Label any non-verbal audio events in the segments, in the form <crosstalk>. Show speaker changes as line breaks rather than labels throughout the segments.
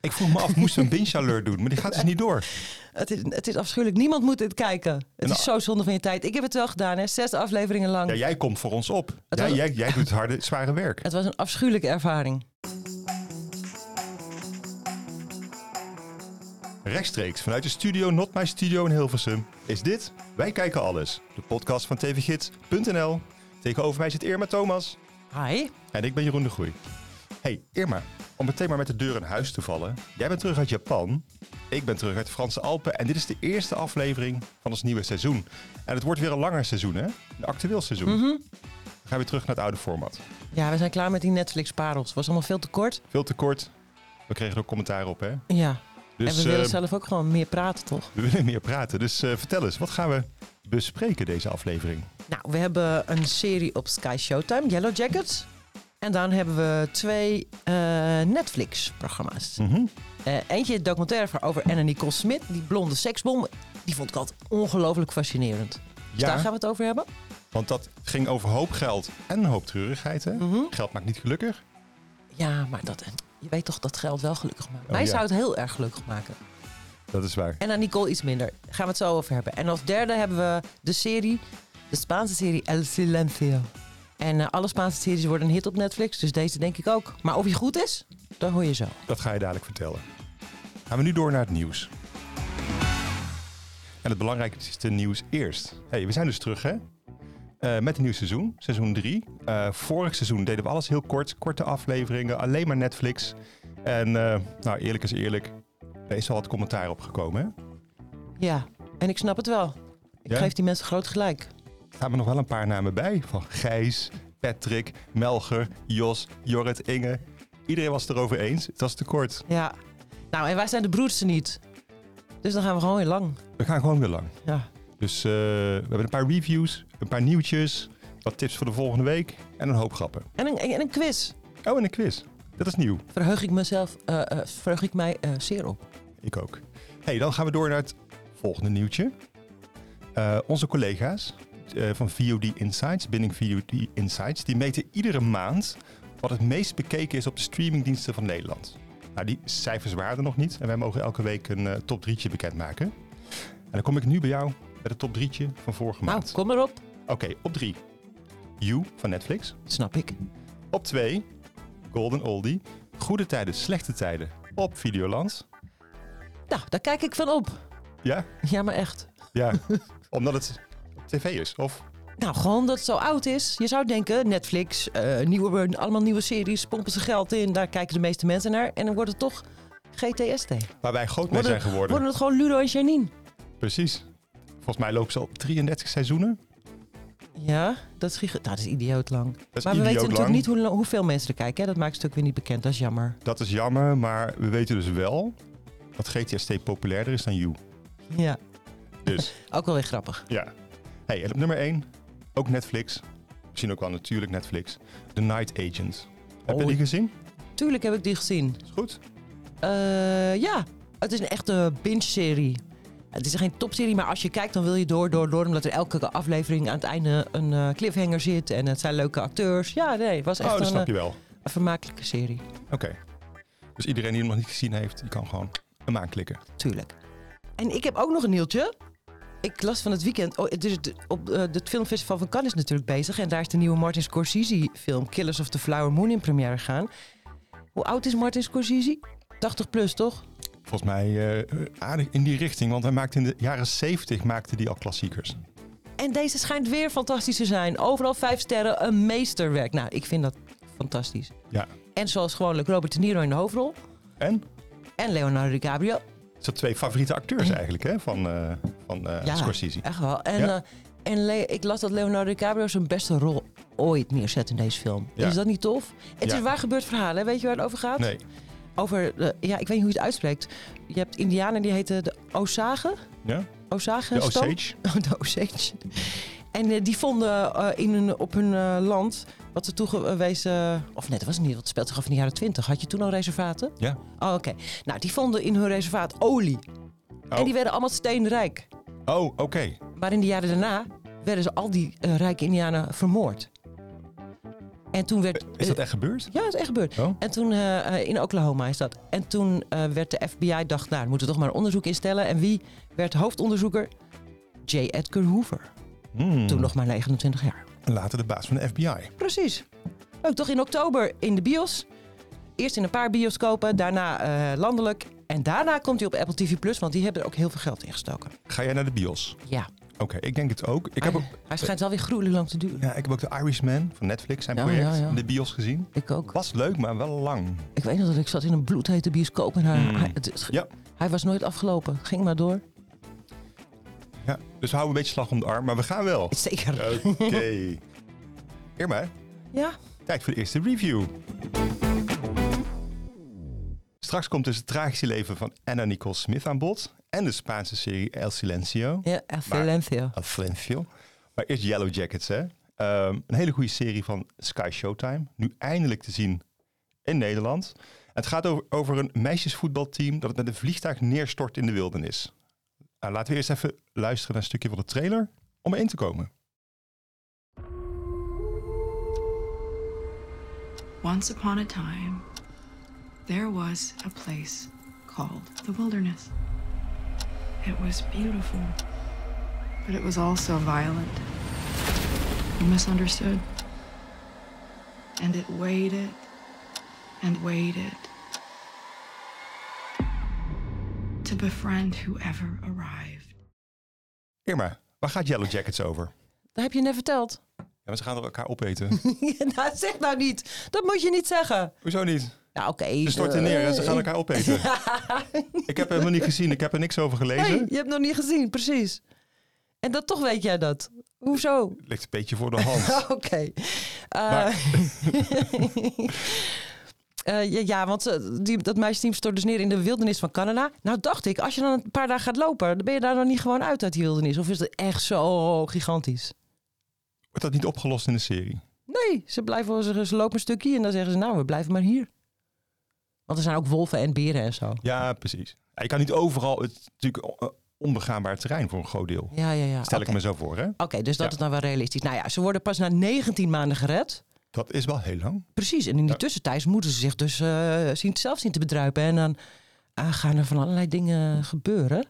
Ik vroeg me af, moest we een binge alert doen? Maar die gaat dus niet door.
Het is, het is afschuwelijk. Niemand moet dit kijken. Het
Nou.
is zo zonde van je tijd. Ik heb het wel gedaan, hè. Zes afleveringen lang.
Ja, jij komt voor ons op.
Het
Jij,
was-
jij, jij doet het harde, zware werk.
Het was een afschuwelijke ervaring.
Rechtstreeks vanuit de studio Not My Studio in Hilversum is dit Wij Kijken Alles. De podcast van tvgids.nl. Tegenover mij zit Irma Thomas.
Hi.
En ik ben Jeroen de Groei. Hey Irma, om meteen maar met de deur in huis te vallen. Jij bent terug uit Japan. Ik ben terug uit de Franse Alpen. En dit is de eerste aflevering van ons nieuwe seizoen. En het wordt weer een langer seizoen, hè? Een actueel seizoen. We gaan weer terug naar het oude format.
Ja, we zijn klaar met die Netflix-parels. Was allemaal veel te kort.
Veel te kort. We kregen er ook commentaar op, hè?
Ja.
Dus
en we willen
eh,
zelf ook gewoon meer praten, toch?
we willen meer praten. Dus eh, vertel eens, wat gaan we bespreken deze aflevering?
Nou, we hebben een serie op Sky Showtime, Yellow Jackets. En dan hebben we twee eh, Netflix-programma's.
Mhm.
Eh, eentje documentaire over Anna Nicole Smit, die blonde seksbom. Die vond ik altijd ongelooflijk fascinerend. Dus daar
Ja,
gaan we het over hebben.
want dat ging over hoop geld en een hoop treurigheid, hè?
Mhm.
Geld maakt niet gelukkig.
Ja, maar dat, eh, je weet toch dat geld wel gelukkig maakt.
Oh,
Mij
ja.
zou het heel erg gelukkig maken.
Dat is waar.
En aan Nicole iets minder. Daar gaan we het zo over hebben. En als derde hebben we de serie, de Spaanse serie El Silencio. En eh, alle Spaanse series worden een hit op Netflix, dus deze denk ik ook. Maar of hij goed is, dat hoor je zo.
Dat ga je dadelijk vertellen. Gaan we nu door naar het nieuws. En het belangrijkste is de nieuws eerst. hey, we zijn dus terug hè? Eh, met een nieuw seizoen, seizoen 3. vorig seizoen deden we alles heel kort, korte afleveringen, alleen maar Netflix. En eh, nou, eerlijk is eerlijk, er is al wat commentaar opgekomen. Hè?
Ja, en ik snap het wel. Ik
Ja?
geef die mensen groot gelijk.
Gaan we nog wel een paar namen bij? Van Gijs, Patrick, Melger, Jos, Jorrit, Inge. Iedereen was het erover eens. Het was te kort.
Ja. Nou, en wij zijn de broerste niet. Dus dan gaan we gewoon weer lang.
We gaan gewoon weer lang.
Ja.
Dus eh, we hebben een paar reviews, een paar nieuwtjes, wat tips voor de volgende week en een hoop grappen.
En een, en een quiz.
Oh, en een quiz. Dat is nieuw.
Verheug ik mezelf, eh, eh, verheug ik mij eh, zeer op.
Ik ook. hey, dan gaan we door naar het volgende nieuwtje. Eh, onze collega's eh, van VOD Insights, Binning VOD Insights, die meten iedere maand wat het meest bekeken is op de streamingdiensten van Nederland. Nou, die cijfers waren er nog niet en wij mogen elke week een eh, top 3'tje bekendmaken. En dan kom ik nu bij jou met het top 3'tje van vorige
Nou,
maand.
kom maar op.
Oké, op 3. You van Netflix.
Snap ik.
Op 2, Golden Oldie. Goede tijden, slechte tijden op Videoland.
Nou, daar kijk ik van op.
Ja,
Ja, maar echt.
ja.
<laughs>
Omdat het op tv is. Of
Nou, gewoon dat het zo oud is. Je zou denken, Netflix, eh, nieuwe, allemaal nieuwe series, pompen ze geld in. Daar kijken de meeste mensen naar. En dan wordt het toch GTST.
waar wij groot mee
Worden-
zijn geworden.
Worden het gewoon Ludo en Janine.
Precies. Volgens mij lopen ze al 33 seizoenen.
Ja, dat is, giga- nou, dat is idioot lang.
Dat is
maar
idioot
we weten natuurlijk
lang.
niet hoe, lang- hoeveel mensen er kijken. Hè? Dat maakt het natuurlijk weer niet bekend. Dat is jammer.
Dat is jammer, maar we weten dus wel dat GTST populairder is dan You.
Ja,
Dus
<laughs> ook wel weer grappig.
ja. Hey, en op nummer 1, ook Netflix. Misschien ook wel natuurlijk Netflix. The Night Agent. Heb je
Oh.
die gezien?
Tuurlijk heb ik die gezien.
Is goed?
Eh, ja, het is een echte binge-serie. Het is geen topserie, maar als je kijkt dan wil je door, door, door. Omdat er elke aflevering aan het einde een eh, cliffhanger zit. En het zijn leuke acteurs. Ja, nee, het was echt
Oh, dat
een,
snap je wel.
eh, een vermakelijke serie.
Oké. Dus iedereen die hem nog niet gezien heeft, die kan gewoon hem aanklikken.
Tuurlijk. En ik heb ook nog een nieuwtje. Ik las van het weekend. Oh, het is het- op eh, het filmfestival van Cannes is natuurlijk bezig. En daar is de nieuwe Martin Scorsese film Killers of the Flower Moon in première gegaan. Hoe oud is Martin Scorsese? 80 plus, toch?
Volgens mij eh, aardig in die richting, want hij maakte in de jaren 70 maakte die al klassiekers.
En deze schijnt weer fantastisch te zijn. Overal vijf sterren, een meesterwerk. Nou, ik vind dat fantastisch.
Ja.
En zoals gewoonlijk Robert De Niro in de hoofdrol.
En?
En Leonardo DiCaprio.
Dat zijn twee favoriete acteurs eigenlijk, hè, van, eh, van eh,
Ja.
Scorsese.
Echt wel. En,
Ja.
eh, en Le- ik las dat Leonardo DiCaprio zijn beste rol ooit neerzet in deze film.
Ja.
Is dat niet tof? Het
Ja.
is waar gebeurd verhaal, hè? weet je waar het over gaat?
Nee,
Over, eh, ja, ik weet niet hoe je het uitspreekt. Je hebt indianen die heten de Osage.
ja?
Osage
de Osage.
<laughs> Oh, de Osage. En eh, die vonden eh, in hun, op hun eh, land, wat ze toegewezen... of net, dat was niet, want het speelt zich af in de jaren twintig. Had je toen al reservaten?
Ja.
Oh, oké. Nou, die vonden in hun reservaat olie.
Oh,
En die werden allemaal steenrijk.
oh oké.
Maar in de jaren daarna werden ze al die eh, rijke indianen vermoord. En toen werd... eh,
Is dat echt gebeurd?
Ja, dat is echt gebeurd.
Oh.
En toen, eh, eh, in Oklahoma is dat. En toen eh, werd de FBI, dacht, nou, dan moeten we toch maar een onderzoek instellen. En wie werd hoofdonderzoeker? J. Edgar Hoover.
Hmm.
Toen nog maar 29 jaar.
Later de baas van de FBI.
Precies. Leuk, toch in oktober in de bios. Eerst in een paar bioscopen, daarna eh, landelijk. En daarna komt hij op Apple TV+, Plus, want die hebben er ook heel veel geld in gestoken.
Ga jij naar de bios?
Ja,
Oké, ik denk het ook. Ik heb ook,
hij, hij schijnt wel weer gruwelijk lang te duren.
ja, ik heb ook de Irishman van Netflix, zijn
Ja,
project,
ja, ja.
in de bios gezien.
Ik ook.
Was leuk, maar wel lang.
Ik weet nog dat ik zat in een bloedhete bioscoop en hij,
Mm.
hij, het- het-
Ja.
hij was nooit afgelopen. Ging maar door.
Ja, dus we houden een beetje slag om de arm, maar we gaan wel.
Zeker.
Oké. <laughs> Irma,
Ja.
tijd voor de eerste review. Straks komt dus het tragische leven van Anna Nicole Smith aan bod. En de Spaanse serie El Silencio.
Ja, echt Valencia.
El Silencio. Maar eerst Yellow Jackets, hè. Ehm, een hele goede serie van Sky Showtime. Nu eindelijk te zien in Nederland. Het gaat over, over een meisjesvoetbalteam dat het met een vliegtuig neerstort in de wildernis. Nou, laten we eerst even luisteren naar een stukje van de trailer om erin te komen.
Once upon a time, there was a place called the wilderness. It was beautiful, but it was also violent and misunderstood. And it waited and waited to befriend whoever arrived.
Irma, waar gaat Yellow Jackets over?
Dat heb je net verteld.
Ja, maar ze gaan er elkaar opeten.
<laughs> nou, zeg nou niet. Dat moet je niet zeggen.
<laughs> Hoezo niet?
Nou, oké. Eh,
Ze storten neer en ze gaan elkaar opeten.
<laughs>
Ik heb hem nog niet gezien, ik heb er niks over gelezen.
Nee, je hebt nog niet gezien, precies. En dat toch weet jij dat. Hoezo?
Ligt een beetje voor de hand.
<laughs>
<laughs>
Oké. Eh, <laughs> eh, ja, ja, want eh, die, dat meisjeteam stort dus neer in de wildernis van Canada. Nou dacht ik, als je dan een paar dagen gaat lopen, dan ben je daar dan niet gewoon uit uit die wildernis. Of is dat echt zo gigantisch?
Wordt dat niet opgelost in de serie?
Nee, ze, blijven, ze, ze lopen een stukje en dan zeggen ze, nou, we blijven maar hier. Want er zijn ook wolven en beren en zo.
Ja, precies. Ja, Je kan niet overal, het is natuurlijk eh, onbegaanbaar terrein voor een groot deel.
Ja, ja, ja.
Stel
Oké,
ik me zo voor, hè?
Oké, dus dat
Ja.
is dan wel realistisch. Nou ja, ze worden pas na 19 maanden gered.
Dat is wel heel lang.
Precies, en in die
Ja.
tussentijd moeten ze zich dus eh, zien, zelf zien te bedruipen. En dan ah, gaan er van allerlei dingen gebeuren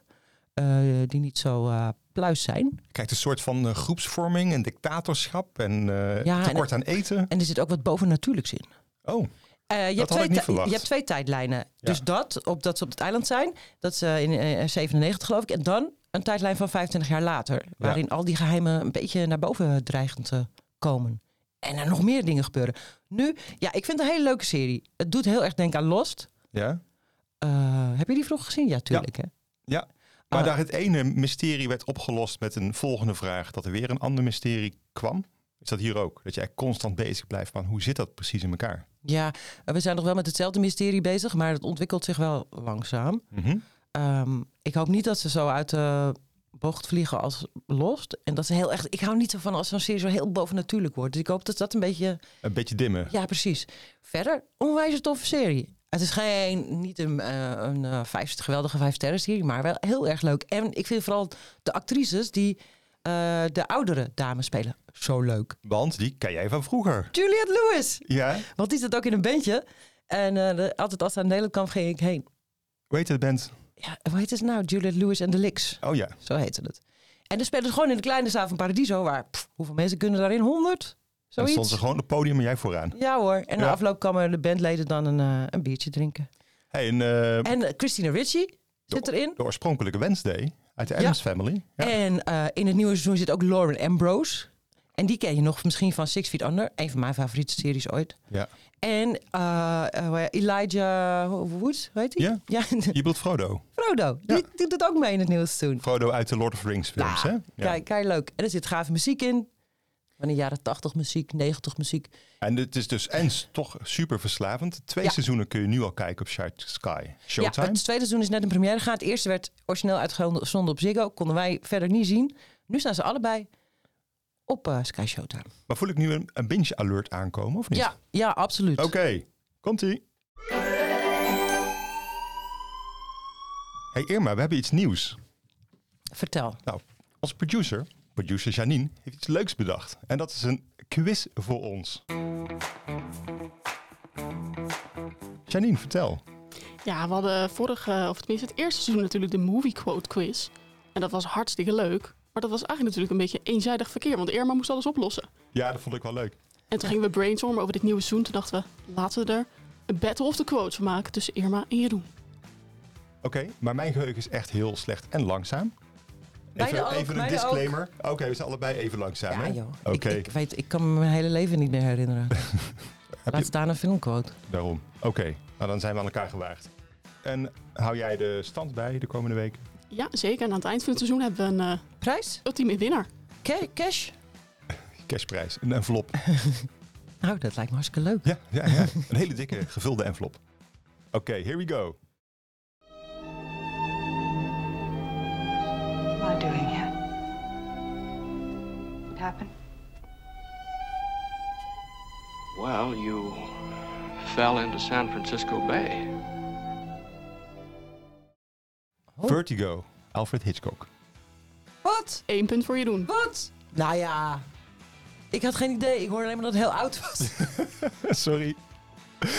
eh, die niet zo eh, pluis zijn.
Kijk, een soort van eh, groepsvorming en dictatorschap en eh,
Ja, en-
tekort aan eten.
En er zit ook wat bovennatuurlijks in.
Oh,
Eh, je,
had
hebt twee
ik niet
ti-
verwacht.
je hebt twee tijdlijnen. Dus dat, op, dat ze op het eiland zijn, dat ze in eh, 97 geloof ik. En dan een tijdlijn van 25 jaar later. Waarin al die geheimen een beetje naar boven dreigen te komen. En er nog meer dingen gebeuren. Nu, ja, ik vind het een hele leuke serie. Het doet heel erg denken aan Lost.
ja.
Eh, heb je die vroeger gezien? Ja, tuurlijk hè.
Maar
Ah.
daar het ene mysterie werd opgelost met een volgende vraag, dat er weer een ander mysterie kwam. Is dat hier ook? Dat je echt constant bezig blijft van hoe zit dat precies in elkaar?
Ja, eh, we zijn nog wel met hetzelfde mysterie bezig, maar het ontwikkelt zich wel langzaam. Ehm, ik hoop niet dat ze zo uit de bocht vliegen als Lost. En dat ze heel echt. Ik hou niet zo van als zo'n serie zo heel bovennatuurlijk wordt. Dus ik hoop dat dat een beetje.
Een beetje dimmen.
Ja, precies. Verder, onwijs toffe serie. Het is geen, niet een, eh, een eh, vijf, geweldige vijf sterren serie, maar wel heel erg leuk. En ik vind vooral de actrices die eh, de oudere dames spelen zo leuk.
Want die ken jij van vroeger.
Juliette Lewis!
Ja.
Want die zat ook in een bandje. En eh, de- altijd als ze naar Nederland kwam, ging ik heen.
Hoe heet het band?
Ja, hoe heet het nou? Juliette Lewis en de Licks.
Oh ja.
Zo heette het. En dan spelen ze gewoon in de kleine zaal van Paradiso. Waar, pff, hoeveel mensen kunnen daarin? 100?
Dan stond
Zoiets.
ze gewoon op het podium en jij vooraan.
Ja hoor. En
Ja.
na afloop kwamen de bandleden dan een, eh, een biertje drinken.
Hey, en, eh,
En eh, Christina Ricci zit erin.
de oorspronkelijke Wednesday uit de
Ja.
Adams Family. Ja.
En eh, in het nieuwe seizoen zit ook Lauren Ambrose. En die ken je nog misschien van Six Feet Under. Een van mijn favoriete series ooit.
ja.
En eh, eh, hoe heet- Elijah Wood, weet hij?
Ja.
ja. <laughs>
Je bedoelt Frodo.
Frodo.
Ja.
Die, die doet ook mee in het nieuwe seizoen.
Frodo uit de Lord of the Rings films, hè?
Ja,
Ja.
Kijk, kijk, leuk. En er zit gave muziek in. Van de jaren 80 muziek, 90 muziek.
En het is dus en s- toch super verslavend. Twee
Ja.
seizoenen kun je nu al kijken op Shark Sky. Showtime.
Ja, het tweede seizoen is net in première gegaan. Het eerste werd origineel uitgezonden op Ziggo. Konden wij verder niet zien. Nu staan ze allebei op eh, Sky Showtime.
Maar voel ik nu een, een binge alert aankomen, of niet?
Ja, ja, absoluut.
Oké, komt-ie. Hey Irma, we hebben iets nieuws.
Vertel.
Nou, als producer, producer Janine, heeft iets leuks bedacht. En dat is een quiz voor ons. Janine, vertel.
Ja, we hadden vorige, of tenminste het eerste seizoen natuurlijk de movie quote quiz. En dat was hartstikke leuk. Maar dat was eigenlijk natuurlijk een beetje eenzijdig verkeer, want Irma moest alles oplossen.
Ja, dat vond ik wel leuk.
En toen gingen we brainstormen over dit nieuwe seizoen. Toen dachten we, laten we er een battle of the quotes van maken tussen Irma en Jeroen.
Oké, maar mijn geheugen is echt heel slecht en langzaam.
Beide
even
ook,
even een
beide
disclaimer. Oké, we zijn allebei even langzaam.
Ja,
hè?
joh.
Oké,
Ik, ik, weet, ik kan me mijn hele leven niet meer herinneren.
<laughs> Heb
Laat
je-
staan een filmquote.
daarom. Oké, nou dan zijn we aan elkaar gewaagd. En hou jij de stand bij de komende week?
Ja, zeker. En aan het eind van het seizoen hebben we een eh,
Prijs?
ultieme winnaar.
Ca- Cash?
Cashprijs, een envelop.
Nou, dat lijkt me hartstikke leuk.
Ja, ja, ja. een hele dikke gevulde envelop. Oké, here we go.
not doing yet. What happened?
Well, you fell into San Francisco Bay.
Oh.
Vertigo, Alfred Hitchcock.
Wat?
Eén punt voor Jeroen.
Wat? Nou ja, ik had geen idee. Ik hoorde alleen maar dat het heel oud was.
<laughs> Sorry.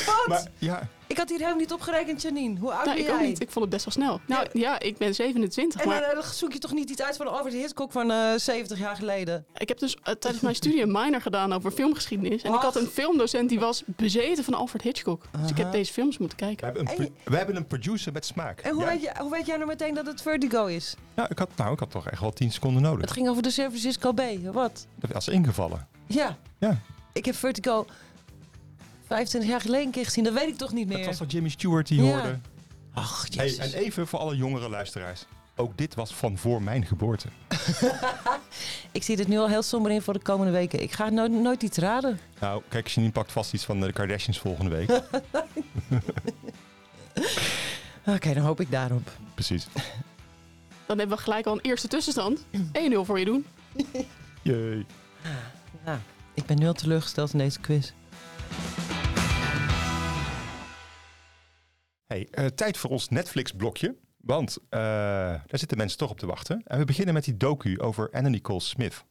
Wat?
Maar ja,
Ik had hier helemaal niet opgerekend, Janine. Hoe oud
Nou,
ben
ik
jij?
ook niet. Ik vond het best wel snel. Nou
Ja.
ja, ik ben 27,
En dan
maar
eh, zoek je toch niet iets uit van Alfred Hitchcock van eh, 70 jaar geleden?
ik heb dus eh, tijdens mijn studie een minor gedaan over filmgeschiedenis. En ik had
Wat?
een filmdocent die was bezeten van Alfred Hitchcock. Dus ik heb deze films moeten
we
kijken.
hebben een,
En
pro-
je-
we hebben een producer met smaak.
En hoe,
Ja.
weet, je, hoe weet jij nou meteen dat het Vertigo is?
Nou, ik had, nou, ik had toch echt wel 10 seconden nodig.
Het ging over de San Francisco Bay. Wat?
Dat was ingevallen.
Ja,
Ja,
ik heb Vertigo 25 jaar geleden een keer gezien. Dat weet ik toch niet
dat was
meer.
toch Jimmy Stewart die
Ja.
hoorde.
Ach,
Hey,
jezus.
en even voor alle jongere luisteraars. Ook dit was van voor mijn geboorte.
<laughs> Ik zie dit nu al heel somber in voor de komende weken. Ik ga no- nooit iets raden.
Nou, kijk, Janine pakt vast iets van eh, de Kardashians volgende week.
<laughs> Oké, dan hoop ik daarop.
Precies.
Dan hebben we gelijk al een eerste tussenstand. <clears throat> 1-0 voor Jeroen.
Jee.
Nou, ik ben nu al teleurgesteld in deze quiz.
Hey, eh, tijd voor ons Netflix-blokje. Want eh, daar zitten mensen toch op te wachten. En we beginnen met die docu over Anna Nicole Smith.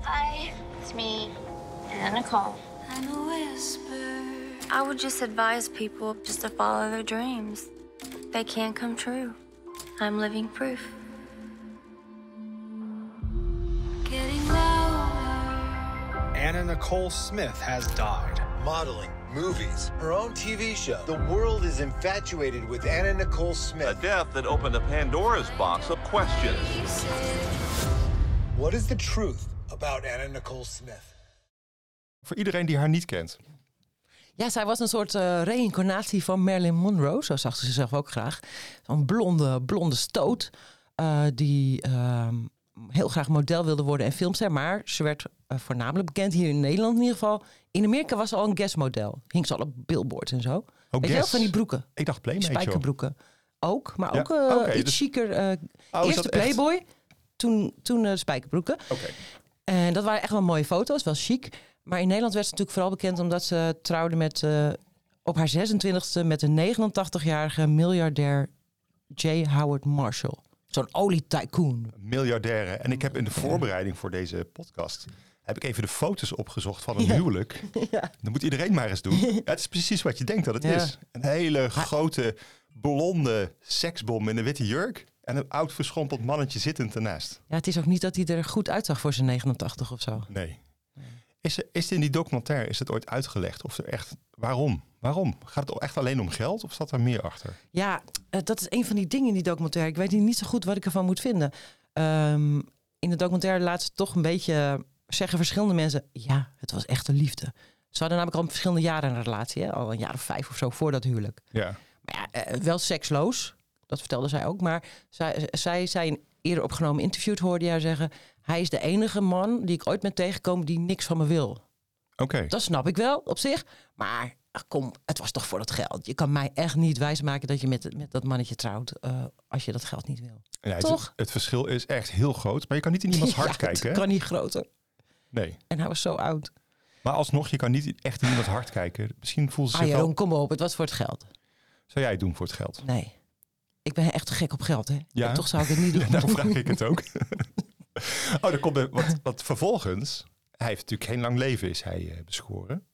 Hi,
It's me, Anna Nicole.
and a whisper.
I would just advise people just to follow their dreams. They can come true. I'm living proof.
Getting louder.
Anna Nicole Smith has died.
modeling, movies, her own TV show. The world is infatuated with Anna Nicole Smith.
A death that opened a Pandora's box of questions.
What is the truth about Anna Nicole Smith?
Voor iedereen die haar niet kent.
Ja, zij was een soort eh reïncarnatie van Marilyn Monroe. Zo zag ze zichzelf ook graag. Een blonde, blonde stoot. eh, die ehm, heel graag model wilde worden en filmster. Maar ze werd eh, voornamelijk bekend hier in Nederland in ieder geval. In Amerika was ze al een guestmodel. Hing ze al op billboards en zo. Weet je wel,
Oh, guest?
van die broeken.
Ik dacht Playmate, joh.
Spijkerbroeken. Ook, maar
Ja,
ook eh,
oké,
iets
dus-
chiquer. eh,
dat
eerst de
echt?
Playboy, toen, toen eh, spijkerbroeken.
Oké.
En dat waren echt wel mooie foto's, wel chic. Maar in Nederland werd ze natuurlijk vooral bekend omdat ze trouwde met, eh, op haar 26e met de 89-jarige miljardair J. Howard Marshall. Zo'n olietycoon.
Miljardaire. En ik heb in de voorbereiding voor deze podcast... heb ik even de foto's opgezocht van een huwelijk. Dat moet iedereen maar eens doen. Ja, het is precies wat je denkt dat het
Ja.
is. Een hele grote, blonde seksbom in een witte jurk... en een oud, verschrompeld mannetje zittend ernaast.
Ja, het is ook niet dat hij er goed uitzag voor zijn 89 of zo.
Nee. Is, er- is in die documentaire is het ooit uitgelegd? Of er echt, waarom? Waarom? Gaat het echt alleen om geld of staat er meer achter?
Ja, eh, dat is een van die dingen in die documentaire. Ik weet niet zo goed wat ik ervan moet vinden. Ehm, in de documentaire laat ze toch een beetje zeggen verschillende mensen... ja, het was echte liefde. Ze hadden namelijk al verschillende jaren een relatie. Hè? Al een jaar of vijf of zo voor dat huwelijk.
Ja.
Maar ja, eh, wel seksloos. Dat vertelde zij ook. Maar zij, zij zei in eerder opgenomen interview, hoorde je haar zeggen... hij is de enige man die ik ooit ben tegengekomen die niks van me wil.
Oké.
Dat snap ik wel op zich. Maar ach, kom, het was toch voor dat geld. Je kan mij echt niet wijsmaken dat je met, met dat mannetje trouwt... eh, als je dat geld niet wil.
Ja, het-
toch?
Het, verschil is echt heel groot. Maar je kan niet in iemands hart
<laughs> Ja,
kijken.
Het
hè?
kan niet groter.
Nee.
En hij was zo oud.
Maar alsnog, je kan niet echt in iemands hart kijken. Misschien voelen ze
Ah
zich
Jeroen,
wel...
kom op. Het was voor het geld.
Zou jij het doen voor het geld? <laughs>
Nee. Ik ben echt gek op geld, hè?
Ja.
En toch zou ik het
<laughs>
niet doen.
Ja, daarom vraag ik het ook. <laughs> oh, dan komt er, wat, wat vervolgens... Hij heeft natuurlijk geen lang leven, is hij eh, beschoren.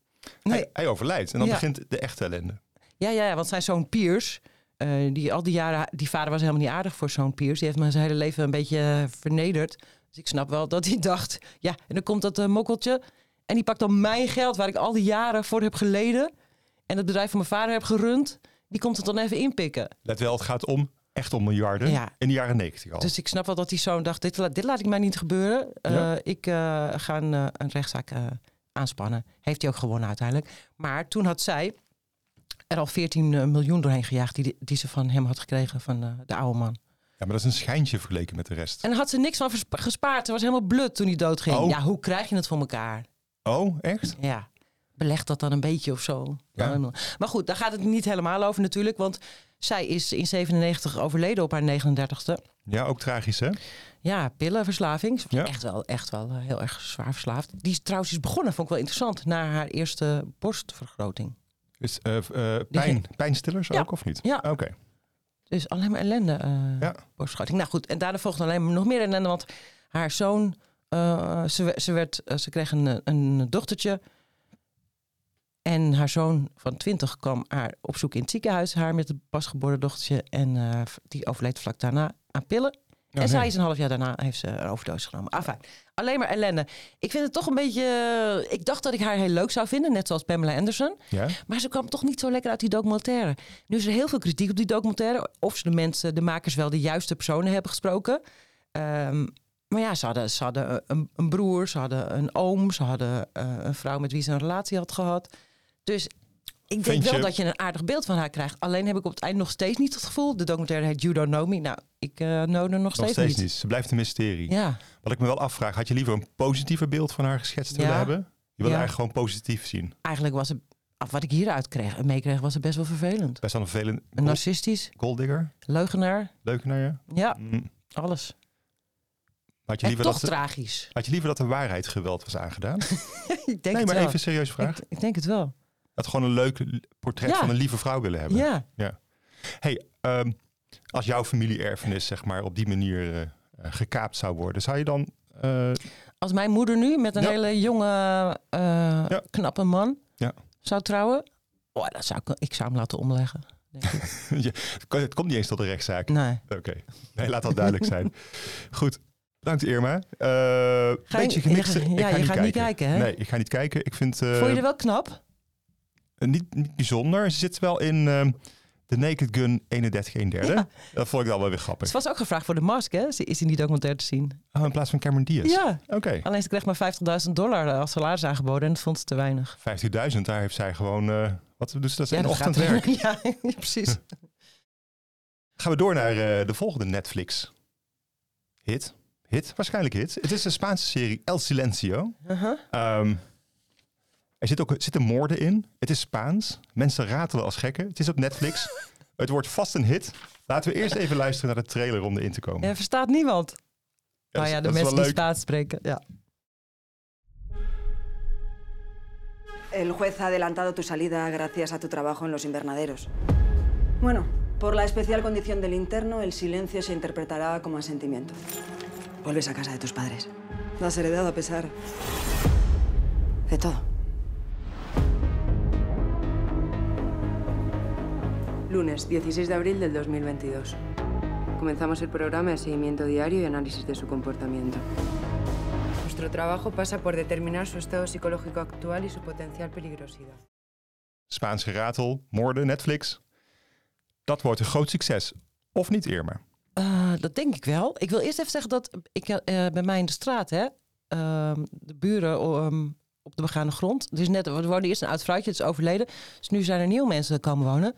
Nee.
Hij, hij overlijdt en dan
Ja.
begint de echte ellende.
Ja, ja, ja, want zijn zoon Piers, eh, die al die jaren, die vader was helemaal niet aardig voor zo'n Piers. Die heeft me zijn hele leven een beetje eh, vernederd. Dus ik snap wel dat hij <laughs> dacht, ja, en dan komt dat eh, mokkeltje. En die pakt dan mijn geld, waar ik al die jaren voor heb geleden. En het bedrijf van mijn vader heb gerund. Die komt het dan even inpikken.
Let wel, het gaat om echt om miljarden
Ja.
in de jaren 90 al.
Dus ik snap wel dat die zoon dacht, dit, la- dit laat ik mij niet gebeuren. Eh,
Ja.
Ik eh, ga een, eh, een rechtszaak eh, aanspannen. Heeft hij ook gewonnen uiteindelijk. Maar toen had zij er al 14 miljoen doorheen gejaagd... Die, die ze van hem had gekregen, van eh, de oude man.
Ja, maar dat is een schijntje vergeleken met de rest.
En daar had ze niks van verspa- gespaard. Ze was helemaal blut toen hij doodging.
Oh.
Ja, hoe krijg je het voor elkaar?
Oh, echt?
Ja, beleg dat dan een beetje of zo.
Ja.
Nou, Maar goed, daar gaat het niet helemaal over natuurlijk. Want zij is in 97 overleden op haar 39ste.
Ja, ook tragisch, hè?
Ja, pillenverslaving. Ze was
Ja.
echt wel, echt wel eh, heel erg zwaar verslaafd. Die is trouwens is begonnen, vond ik wel interessant, na haar eerste borstvergroting.
Dus, eh, eh, pijn, pijnstillers
Ja.
ook, of niet?
Ja.
Oké.
Dus alleen maar ellende, eh
Ja.
borstvergroting. Nou goed, en daarna volgde alleen maar nog meer ellende, want haar zoon, eh, ze, we- ze, werd, eh, ze kreeg een, eh, een dochtertje. En haar zoon van 20 kwam haar op zoek in het ziekenhuis, haar met het pasgeboren dochtertje. En eh, die overleed vlak daarna aan pillen.
Ja, nee.
en zij is een half jaar daarna heeft ze een overdosis genomen. Afijn, alleen maar ellende. Ik vind het toch een beetje. eh, Ik dacht dat ik haar heel leuk zou vinden, net zoals Pamela Anderson.
Ja?
Maar ze kwam toch niet zo lekker uit die documentaire. Nu is er heel veel kritiek op die documentaire. Of ze de mensen, de makers wel de juiste personen hebben gesproken. Ehm, maar ja, ze hadden, ze hadden een, een broer, ze hadden een oom, ze hadden eh, een vrouw met wie ze een relatie had gehad. Dus ik denk
Vind
wel
je-
dat je een aardig beeld van haar krijgt. Alleen heb ik op het eind nog steeds niet het gevoel. De documentaire heet You Don't Know Me. Nou, ik eh know er nog,
Nog
steeds,
steeds niet.
niet.
Ze blijft een mysterie.
Ja,
Wat ik me wel afvraag, had je liever een positiever beeld van haar geschetst willen
Ja.
hebben? Je wilde
Ja.
eigenlijk gewoon positief zien.
eigenlijk was het. af Wat ik hieruit kreeg, meekreeg, was het best wel vervelend.
Best wel een vervelend.
Een narcistisch,
Golddigger?
leugenaar.
Leuk naar je?
Ja,
Mm.
alles.
Had, je
En
liever dat
toch
de,
tragisch.
had je liever dat de waarheid geweld was aangedaan?
<laughs> ik denk
nee,
het
maar
wel.
even een serieuze vraag.
Ik, ik denk het wel.
Dat gewoon een leuk l- portret
Ja.
van een lieve vrouw willen hebben.
Ja.
Hey, ehm, als jouw familie-erfenis zeg maar, op die manier eh, eh, gekaapt zou worden, zou je dan... eh,
Als mijn moeder nu met een
Ja.
hele jonge, eh,
Ja.
knappe man
Ja.
zou trouwen. Oh, dat zou ik, ik zou hem laten omleggen. denk ik.
het komt niet eens tot een rechtszaak.
nee.
Oké, nee, laat dat duidelijk zijn. Goed, bedankt Irma. Eh
Ga
beetje
je-
gemixte.
ja,
ik
ja,
ga
je
niet
gaat
kijken.
niet kijken, hè?
Nee, ik ga niet kijken. Ik vind eh,
Vond je er wel knap?
niet, niet bijzonder. Ze zit wel in ehm The Naked Gun 31 1 derde.
Ja.
Dat vond ik dan wel weer grappig.
Ze was ook gevraagd voor de mask, hè? Ze is in die documentaire te zien.
Oh, in plaats van Cameron Diaz?
Ja.
Oké.
Alleen ze kreeg maar 50.000 dollar eh, als salaris aangeboden en dat vond ze te weinig.
50.000, daar heeft zij gewoon... eh, wat doet ze dat? in
dat gaat-
ochtendwerk.
<laughs> ja,
<laughs>
precies.
Gaan we door naar eh, de volgende Netflix. Hit. Hit, waarschijnlijk hit. Het is de Spaanse serie El Silencio.
Uh-huh.
Ehm, er zit ook, zitten moorden in. Het is Spaans. Mensen ratelen als gekken. Het is op
<laughs>
Netflix. het wordt vast een hit. Laten we eerst even luisteren naar de trailer om erin te komen.
Ja, verstaat niemand.
dat
nou
is-
ja, de
dat is wel
mensen die
leuk.
Spaans spreken. Ja.
El juez ha adelantado tu salida gracias a tu trabajo en los invernaderos. Bueno, por la especial condición del interno, el silencio se interpretará como asentimiento. Vuelves a casa de tus padres. Lo has heredado a pesar de todo.
Lunes 16 de abril del 2022. Comenzamos el programa de seguimiento diario y análisis de su comportamiento. Nuestro trabajo pasa por determinar su estado psicológico actual y su potencial peligrosidad.
Spaans geratel, moorden, Netflix. Dat wordt een groot succes. Of niet, Irma?
Eh, dat denk ik wel. Ik wil eerst even zeggen dat ik eh, bij mij in de straat, hè, ehm, de buren ehm, op de begane grond. Dus net, er woonde eerst een oud vrouwtje, dat is overleden. Dus nu zijn er nieuwe mensen komen wonen.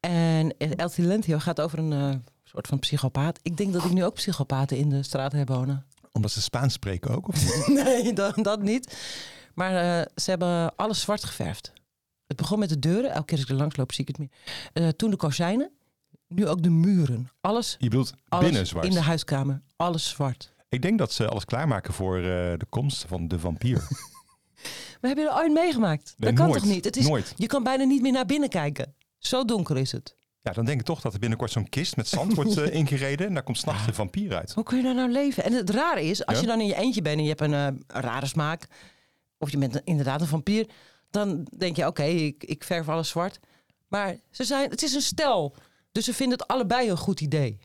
En El Silentio gaat over een eh, soort van psychopaat. Ik denk dat ik nu ook psychopaten in de straat heb wonen. <laughs>
Omdat ze Spaans spreken ook, of niet?
nee, dat, dat niet. Maar eh, ze hebben alles zwart geverfd. Het begon met de deuren. Elke keer als ik er langs loop, zie ik het meer. Eh, toen de kozijnen. Nu ook de muren. Alles,
Je bedoelt binnen
alles
zwart.
in de huiskamer. Alles zwart.
Ik denk dat ze alles klaarmaken voor eh, de komst van de <laughs> vampier.
Maar heb je er ooit meegemaakt?
Nee,
dat kan
nooit.
toch niet? Het is,
Nooit.
Je kan bijna niet meer naar binnen kijken. Zo donker is het.
ja, dan denk ik toch dat er binnenkort zo'n kist met zand wordt <laughs> eh, ingereden. En daar komt s'nachts de vampier uit.
Hoe kun je daar nou leven? En het rare is, als
Ja.
je dan in je eentje bent en je hebt een eh, een rare smaak, of je bent een- inderdaad een vampier, dan denk je, oké, ik, ik verf alles zwart. Maar ze zijn, het is een stel. Dus ze vinden het allebei een goed idee.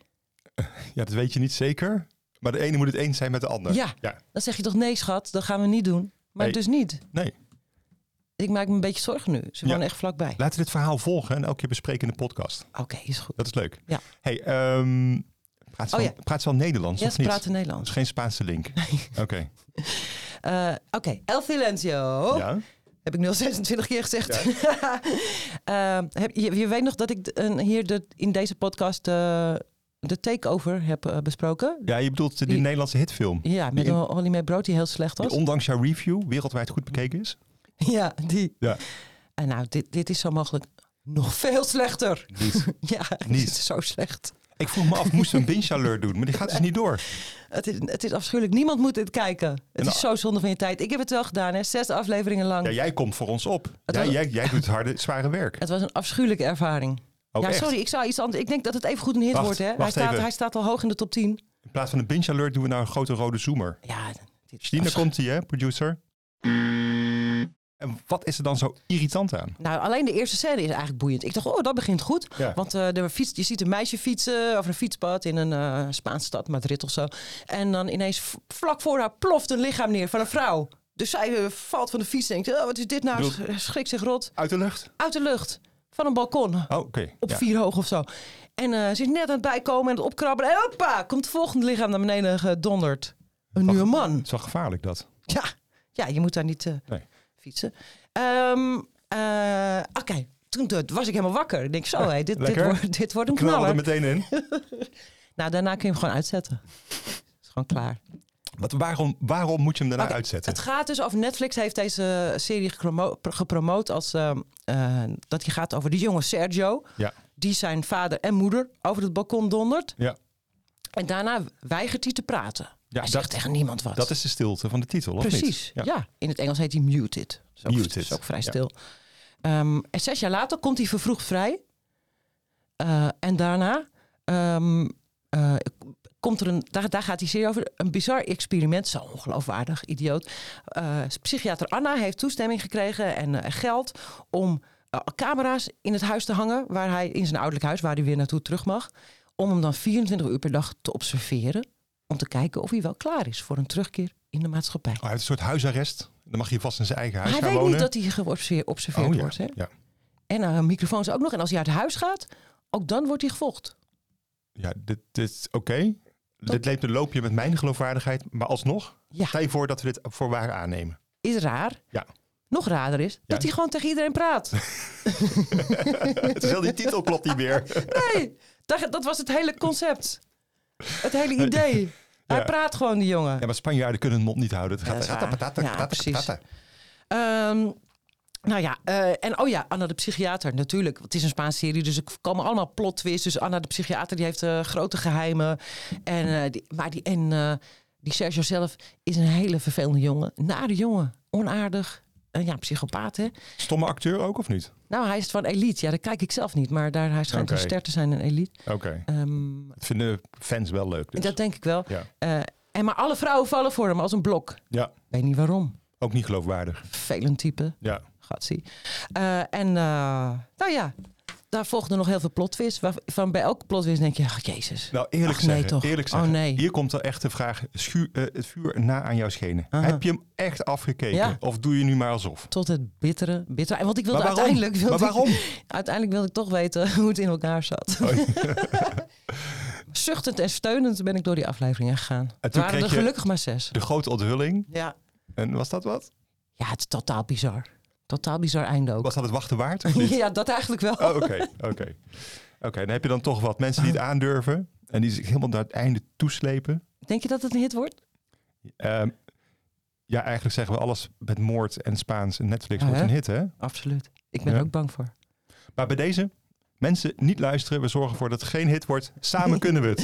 Ja, dat weet je niet zeker. Maar de ene moet het eens zijn met de ander.
Ja. Dan zeg je toch nee, schat, dat gaan we niet doen. Maar
Nee.
dus niet.
Nee.
Ik maak me een beetje zorgen nu. Ze wonen
Ja.
echt vlakbij.
Laten we dit verhaal volgen en elke keer bespreken in de podcast.
Oké, is goed.
Dat is leuk.
Ja.
Hey, ehm, praat, ze
Oh,
wel-
ja.
praat ze wel Nederlands
Ja,
of
ze
niet?
praten Nederlands.
Dat is geen Spaanse link. Oké.
Eh, Oké, El Silencio.
Ja.
Heb ik 026 keer gezegd. <laughs> Ehm, heb, je, je weet nog dat ik een, hier de, in deze podcast eh, de takeover heb eh, besproken.
Ja, je bedoelt die,
Die-
Nederlandse hitfilm.
Ja, met
die,
een Holly May Brood die heel slecht
die
was.
ondanks jouw review wereldwijd goed bekeken is.
ja, die.
Ja.
En nou, dit, dit is zo mogelijk nog veel slechter. <laughs>
Niet.
ja,
Niet.
het is zo slecht.
Ik vroeg me af, moesten we een binge alert doen? Maar die gaat <laughs> dus niet door.
Het is, het is afschuwelijk. Niemand moet dit kijken. Het
En-
is zo zonde van je tijd. Ik heb het wel gedaan, hè. Zes afleveringen lang.
Nou. Ja, jij komt voor ons op.
Het
Jij,
was-
jij, jij doet het harde, zware werk.
Het was een afschuwelijke ervaring.
Oh,
ja,
echt?
sorry, ik zou iets anders. Ik denk dat het even goed een hit
Wacht,
wordt, hè? Hij
wacht
staat,
even.
hij staat al hoog in de top 10.
In plaats van een binge alert doen we nou een grote rode zoomer.
Ja,
Stina komt die, hè, producer? En wat is er dan zo irritant aan?
Nou, alleen de eerste scène is eigenlijk boeiend. Ik dacht, oh, dat begint goed.
Ja.
Want eh, de fiets, je ziet een meisje fietsen over een fietspad in een eh, Spaanse stad, Madrid of zo. En dan ineens v- vlak voor haar ploft een lichaam neer van een vrouw. Dus zij eh, valt van de fiets en denkt, oh, wat is dit nou?
Bedoel-
Sch- Schrikt zich rot.
Uit de lucht?
Uit de lucht. Van een balkon.
Oh, oké.
Op
ja.
vier hoog of zo. En eh, ze is net aan het bijkomen en het opkrabben. En hoppa, komt het volgende lichaam naar beneden gedonderd. Een nieuwe man.
Het is wel gevaarlijk, dat.
Ja, ja je moet daar niet eh,
Nee.
fietsen. Ehm, eh, Oké, toen toen was ik helemaal wakker. Ik denk zo, hé, dit, dit,
Lekker.
wordt, dit wordt een
Knallen
knaller.
er meteen in.
<laughs> Nou, daarna kun je hem gewoon uitzetten. is gewoon klaar.
Wat, waarom, waarom moet je hem daarna
Oké,
uitzetten?
Het gaat dus over Netflix heeft deze serie gepromo- gepromoot als ehm, eh, dat je gaat over de jonge Sergio.
Ja.
Die zijn vader en moeder over het balkon dondert.
Ja.
En daarna weigert hij te praten.
Ja,
hij zegt
dat-
tegen niemand wat.
Dat is de stilte van de titel, of
Precies,
niet?
ja. In het Engels heet hij muted. Is ook,
Muted,
Is ook vrij
ja.
stil. Ehm, en zes jaar later komt hij vervroegd vrij. Eh, en daarna ehm, eh, komt er een, daar, daar gaat die serie over, een bizar experiment. Zo ongeloofwaardig, idioot. Eh, psychiater Anna heeft toestemming gekregen en eh, geld om eh, camera's in het huis te hangen. Waar hij, in zijn ouderlijk huis, waar hij weer naartoe terug mag. Om hem dan 24 uur per dag te observeren. Om te kijken of hij wel klaar is voor een terugkeer in de maatschappij.
Oh, hij heeft een soort huisarrest. Dan mag je vast in zijn eigen huis
Maar hij
gaan
weet
wonen.
niet dat hij geobserveerd observeerd
oh, ja.
wordt. Hè?
Ja.
En eh, haar microfoons ook nog. En als hij uit huis gaat, ook dan wordt hij gevolgd.
Ja, dit, dit is oké. Dit leept een loopje met mijn geloofwaardigheid, maar alsnog,
Ja.
stel je voor dat we dit voor waar aannemen.
Is raar. <laughs>
Ja.
Nog raarder is dat hij gewoon tegen iedereen praat.
<laughs> Het is heel die titel klopt niet meer.
Nee, dat, dat was het hele concept. Het hele idee.
<laughs>
Hij
Ja.
praat gewoon, die jongen.
Ja, maar Spanjaarden kunnen hun mond niet houden. Het gaat,
dat is
gaat-
waar.
patata,
Ja,
patata,
precies.
patata.
Ehm, nou ja, eh, en oh ja, Anna de psychiater natuurlijk. Het is een Spaanse serie, dus er komen allemaal plot twists. Dus Anna de psychiater die heeft eh, grote geheimen. En, eh, die, maar die, en, eh, die Sergio zelf is een hele vervelende jongen. Nare jongen, onaardig. En ja, psychopaat hè.
Stomme acteur ook, of niet?
Nou, hij is van Elite. Ja, dat kijk ik zelf niet. Maar daar, hij schijnt
Oké.
een ster te zijn in Elite.
Oké.
Ehm,
Dat vinden fans wel leuk. dus.
Dat denk ik wel.
Ja.
Eh, en maar alle vrouwen vallen voor hem als een blok.
ja,
Weet niet waarom.
ook niet geloofwaardig.
Vervelend type.
Ja.
Gatsie. Eh, en eh, nou ja, daar volgden nog heel veel plotwist. Van bij elke plotwist denk je, ach jezus.
Nou, eerlijk
Ach, nee,
zeggen.
toch.
Eerlijk
Oh,
zeggen.
nee.
Hier komt er echt de vraag, schuur, eh, het vuur na aan jouw schenen.
Aha.
Heb je hem echt afgekeken?
Ja.
Of doe je nu maar alsof?
Tot het bittere, bittere. En Want ik wilde
Maar waarom?
uiteindelijk... Wilde
Maar waarom?
Ik, <laughs> uiteindelijk wilde ik toch weten <laughs> hoe het in elkaar zat.
Oh, ja.
<laughs> Zuchtend en steunend ben ik door die afleveringen gegaan. Het
toen
waren er
kreeg je-
gelukkig maar zes.
De grote onthulling.
Ja.
En was dat wat?
ja, het is totaal bizar. Totaal bizar einde ook.
Was dat het wachten waard? of niet?
<laughs> Ja, dat eigenlijk wel.
Oh, oké, oké. Oké, dan heb je dan toch wat mensen
<laughs>
die het aandurven en die zich helemaal naar het einde toeslepen.
Denk je dat het een hit wordt?
Ehm, ja, eigenlijk zeggen we alles met moord en Spaans en Netflix
Ja,
wordt
Ah, hè?
een hit, hè?
Absoluut. Ik ben
Ja.
er ook bang voor.
Maar bij deze, mensen niet luisteren. We zorgen ervoor dat het geen hit wordt. Samen kunnen we
<laughs>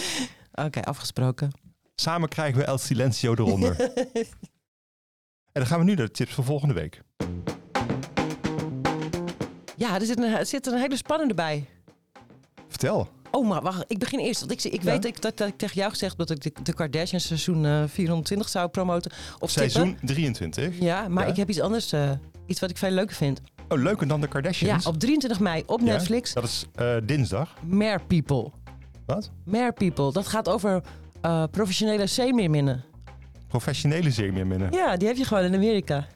het.
Oké, afgesproken.
Samen krijgen we El Silencio
<laughs>
eronder. en dan gaan we nu naar de tips voor volgende week.
Ja, er zit een, er zit een hele spannende bij.
Vertel.
Oh, maar wacht, ik begin eerst. Want ik, ik
Ja.
weet dat ik, dat, dat ik tegen jou gezegd heb dat ik de, de Kardashians seizoen eh, 420 zou promoten. Of tippen.
Seizoen 23.
Ja, maar
Ja.
ik heb iets anders. eh, iets wat ik veel leuker vind.
Oh, leuker dan de Kardashians.
Ja, op 23 mei op
Ja,
Netflix.
Dat is eh, dinsdag.
Mare People.
Wat?
Mare People. Dat gaat over eh, professionele zeemeerminnen.
Professionele zeemeerminnen.
Ja, die heb je gewoon in Amerika.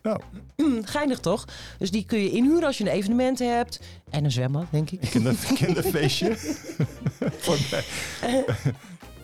Hm, Geinig toch? Dus die kun je inhuren als je een evenement hebt. En een zwembad,
<laughs>
denk ik. <laughs>
Kinder- kinderfeestje. Voor mij.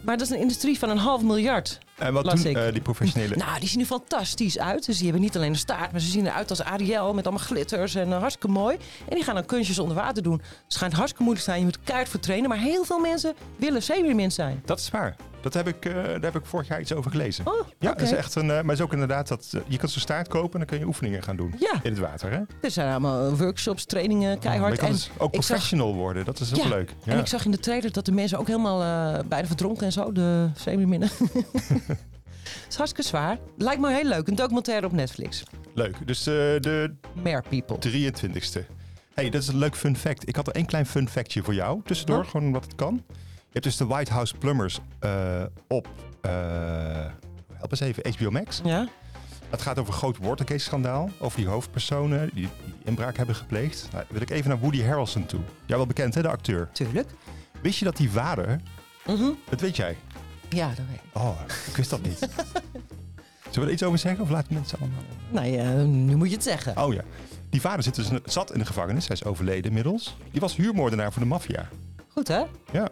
maar dat is een industrie van een half miljard.
En wat
las
doen
ik.
eh, die professionele...
Nou, die zien er fantastisch uit. Dus die hebben niet alleen een staart, maar ze zien eruit als Ariel met allemaal glitters en eh, hartstikke mooi. En die gaan dan kunstjes onder water doen. Het schijnt hartstikke moeilijk te zijn. Je moet keihard voor trainen. Maar heel veel mensen willen zeemeermin zijn.
Dat is waar. Dat heb ik, eh, daar heb ik vorig jaar iets over gelezen.
Oh,
ja,
oké.
dat is echt een, eh, maar het is ook inderdaad dat eh, je kan zo'n staart kopen en dan kun je oefeningen gaan doen
Ja.
in het water. Hè?
Er zijn allemaal eh, workshops, trainingen,
Maar je
keihard.
kan dus ook
ik zag-
professional worden. Dat is ook
Ja,
leuk. Ja.
En ik zag in de trailer dat de mensen ook helemaal eh, bijna verdronken en zo, de <laughs> zeemerminnen. Het is hartstikke zwaar. Lijkt me heel leuk. Een documentaire op Netflix.
Leuk. Dus eh, de
Mare People.
23ste. hey, dat is een leuk fun fact. Ik had er één klein fun factje voor jou. Tussendoor,
Oh.
gewoon omdat het kan. Je hebt dus de White House Plumbers eh, op... eh, help eens even, HBO Max.
Ja.
Het gaat over een groot Watergate-schandaal. Over die hoofdpersonen die, die inbraak hebben gepleegd. Nou, wil ik even naar Woody Harrelson toe. Jij wel bekend, hè, de acteur?
Tuurlijk.
Wist je dat die vader... Dat weet jij.
Ja, dat weet ik.
Oh, ik wist dat niet. Zullen we er iets over zeggen of laten mensen allemaal...
Nou ja, nu moet je het zeggen.
Oh ja. Die vader zit dus, zat in de gevangenis. Hij is overleden inmiddels. Die was huurmoordenaar voor de maffia.
Goed hè?
Ja.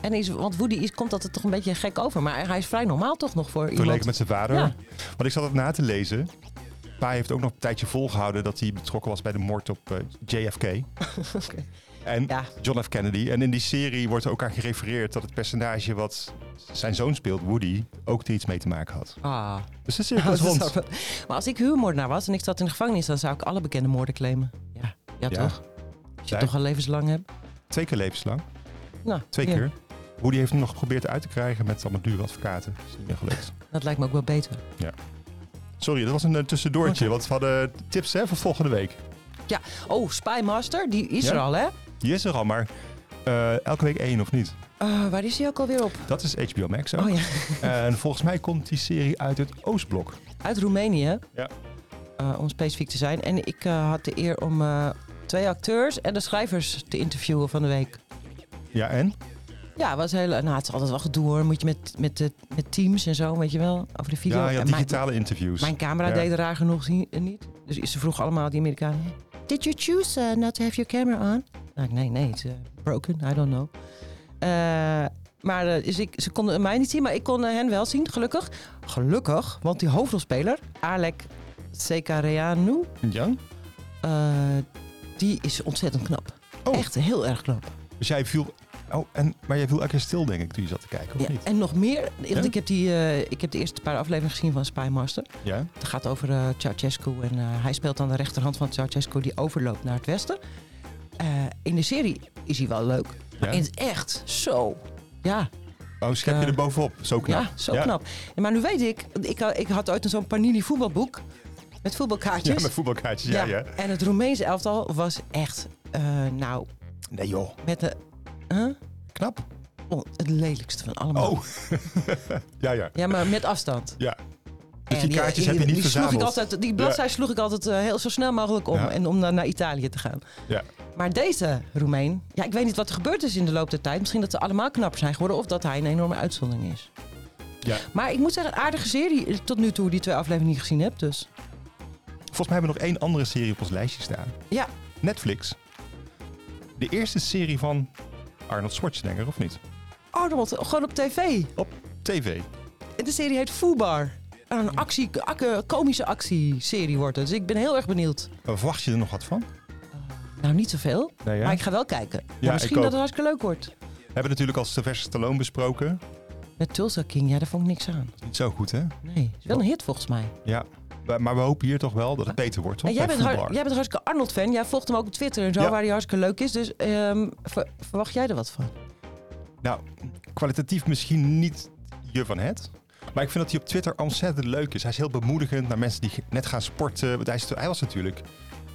En is, want Woody is, komt altijd toch een beetje gek over. Maar hij is vrij normaal toch nog voor iemand.
Vergeleken met zijn vader.
Ja.
Want ik zat het na te lezen. Pa heeft ook nog een tijdje volgehouden dat hij betrokken was bij de moord op eh,
<laughs>
JFK. En John F. Kennedy. En in die serie wordt er ook aan gerefereerd dat het personage wat zijn zoon speelt, Woody, ook er iets mee te maken had.
Ah.
Dus de
<laughs>
cirkel is
Dat is
rond.
ook- Maar als ik huurmoordenaar was en ik zat in de gevangenis, dan zou ik alle bekende moorden claimen. Ja, ja, toch? Als je het toch al levenslang hebt.
Twee keer levenslang.
Nou,
Twee
ja.
keer. Woody heeft hem nog geprobeerd uit te krijgen met allemaal dure advocaten. Is niet meer gelukt.
Dat lijkt me ook wel beter.
Ja. Sorry, dat was een eh, tussendoortje. Want we hadden tips hè, voor volgende week.
Ja, oh, Spymaster, die is
Ja?
er al hè?
Die is er al, maar eh, elke week één of niet.
Eh, waar is die ook alweer op?
Dat is HBO Max ook.
Oh ja.
En volgens mij komt die serie uit het Oostblok.
Uit Roemenië.
Ja.
eh, om specifiek te zijn. En ik eh, had de eer om eh, twee acteurs en de schrijvers te interviewen van de week.
Ja, en?
Ja, was heel, nou, het is altijd wel gedoe hoor. Moet je met, met, de- met teams en zo, weet je wel, over de video.
ja, ja,
En
digitale
eh, mijn,
interviews.
Mijn camera
Ja.
deed er raar genoeg zie- eh, niet. Dus ze vroegen allemaal die Amerikanen. Did you choose eh, not to have your camera on? Nou, ik, nee, nee, het is eh, broken, I don't know. Eh, maar eh, dus ik, ze konden mij niet zien, maar ik kon eh, hen wel zien, gelukkig. Gelukkig, want die hoofdrolspeler, Alec Sekareanu,
Ja?
eh, die is ontzettend knap.
Oh.
Echt heel erg knap.
Dus jij viel... Oh, en, maar jij viel elke keer stil, denk ik, toen je zat te kijken, of
Ja,
niet?
en nog meer, want
Ja?
ik, heb die, eh, ik heb de eerste paar afleveringen gezien van Spymaster.
Ja.
Het gaat over eh Ceausescu en eh, hij speelt aan de rechterhand van Ceausescu die overloopt naar het westen. Eh, in de serie is hij wel leuk, maar
Ja?
in het echt zo. Ja,
Oh, schep je
Eh,
er bovenop. Zo knap.
ja zo knap. En maar nu weet ik, want ik, had- ik had ooit een zo'n Panini voetbalboek met voetbalkaartjes.
Ja, met voetbalkaartjes. Ja, ja.
En het Roemeense elftal was echt, eh, nou,
Nee, joh.
met de... Huh?
Knap.
Oh, het lelijkste van allemaal.
Oh. <laughs> Ja, ja.
Ja, maar met afstand.
Ja. Dus
En
die kaartjes heb je niet
die sloeg ik
verzameld.
altijd, Die bladzij
Ja.
sloeg ik altijd eh, heel zo snel mogelijk om.
Ja.
En om dan naar Italië te gaan.
Ja.
Maar deze Roemeen, ja, ik weet niet wat er gebeurd is in de loop der tijd. Misschien dat ze allemaal knapper zijn geworden of dat hij een enorme uitzondering is.
ja.
Maar ik moet zeggen, een aardige serie tot nu toe, die twee afleveringen niet gezien heb. Dus
Volgens mij hebben we nog één andere serie op ons lijstje staan.
ja,
Netflix. De eerste serie van Arnold Schwarzenegger, of niet?
Arnold, gewoon op tv.
Op TV.
De serie heet Foobar. Een actie, akke- komische actieserie wordt het. Dus ik ben heel erg benieuwd.
Eh, Verwacht je er nog wat van?
Nou, niet zoveel,
Nee, hè?
maar ik ga wel kijken. Maar
ik
misschien
ook.
dat het hartstikke leuk wordt.
We hebben natuurlijk al Sylvester Stallone besproken.
Met Tulsa King, ja, daar vond ik niks aan.
Niet zo goed, hè?
Nee, is wel een hit volgens mij.
Ja, maar maar we hopen hier toch wel dat het beter wordt, toch?
En jij,
Bij
bent har-
Fubar.
jij bent hartstikke Arnold-fan. Jij volgt hem ook op Twitter en zo,
Ja.
waar hij hartstikke leuk is. Dus ehm, ver- verwacht jij er wat van?
Nou, kwalitatief misschien niet je van het. Maar ik vind dat hij op Twitter ontzettend leuk is. Hij is heel bemoedigend naar mensen die ge- net gaan sporten. Want hij, is- hij was natuurlijk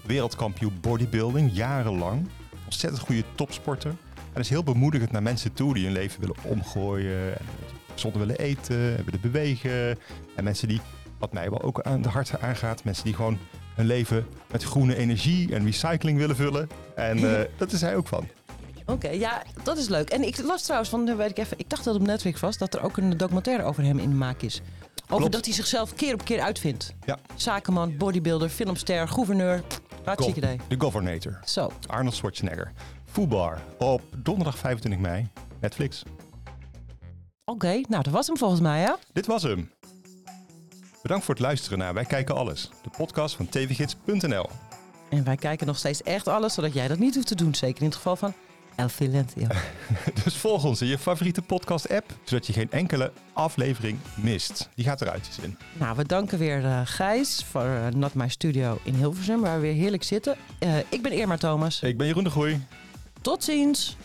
wereldkampioen bodybuilding, jarenlang. Ontzettend goede topsporter. En is heel bemoedigend naar mensen toe die hun leven willen omgooien. En gezonder willen eten, en willen bewegen. En mensen die, wat mij wel ook aan de hart aangaat, mensen die gewoon hun hun leven met groene energie en recycling willen vullen. En eh, dat is hij ook van.
Oké, ja, dat is leuk. En ik las trouwens, van, weet ik, even, ik dacht dat het op Netflix was, dat er ook een documentaire over hem in de maak is. Over
Klopt.
dat hij zichzelf keer op keer uitvindt.
Ja.
Zakenman, bodybuilder, filmster, gouverneur. Hartstikke idee.
De Governator.
Zo.
Arnold Schwarzenegger. Foobar op donderdag 25 mei. Netflix.
Oké, nou dat was hem volgens mij, ja.
Dit was hem. Bedankt voor het luisteren naar Wij Kijken Alles, de podcast van tvgids.nl.
En wij kijken nog steeds echt alles, zodat jij dat niet hoeft te doen. Zeker in het geval van El Filentio.
<laughs> Dus volg ons in je favoriete podcast-app, zodat je geen enkele aflevering mist. Die gaat eruit, die zin.
nou, we danken weer eh, Gijs voor eh, Not My Studio in Hilversum, waar we weer heerlijk zitten. Eh, ik ben Irma Thomas.
Ik ben Jeroen de Groei.
Tot ziens!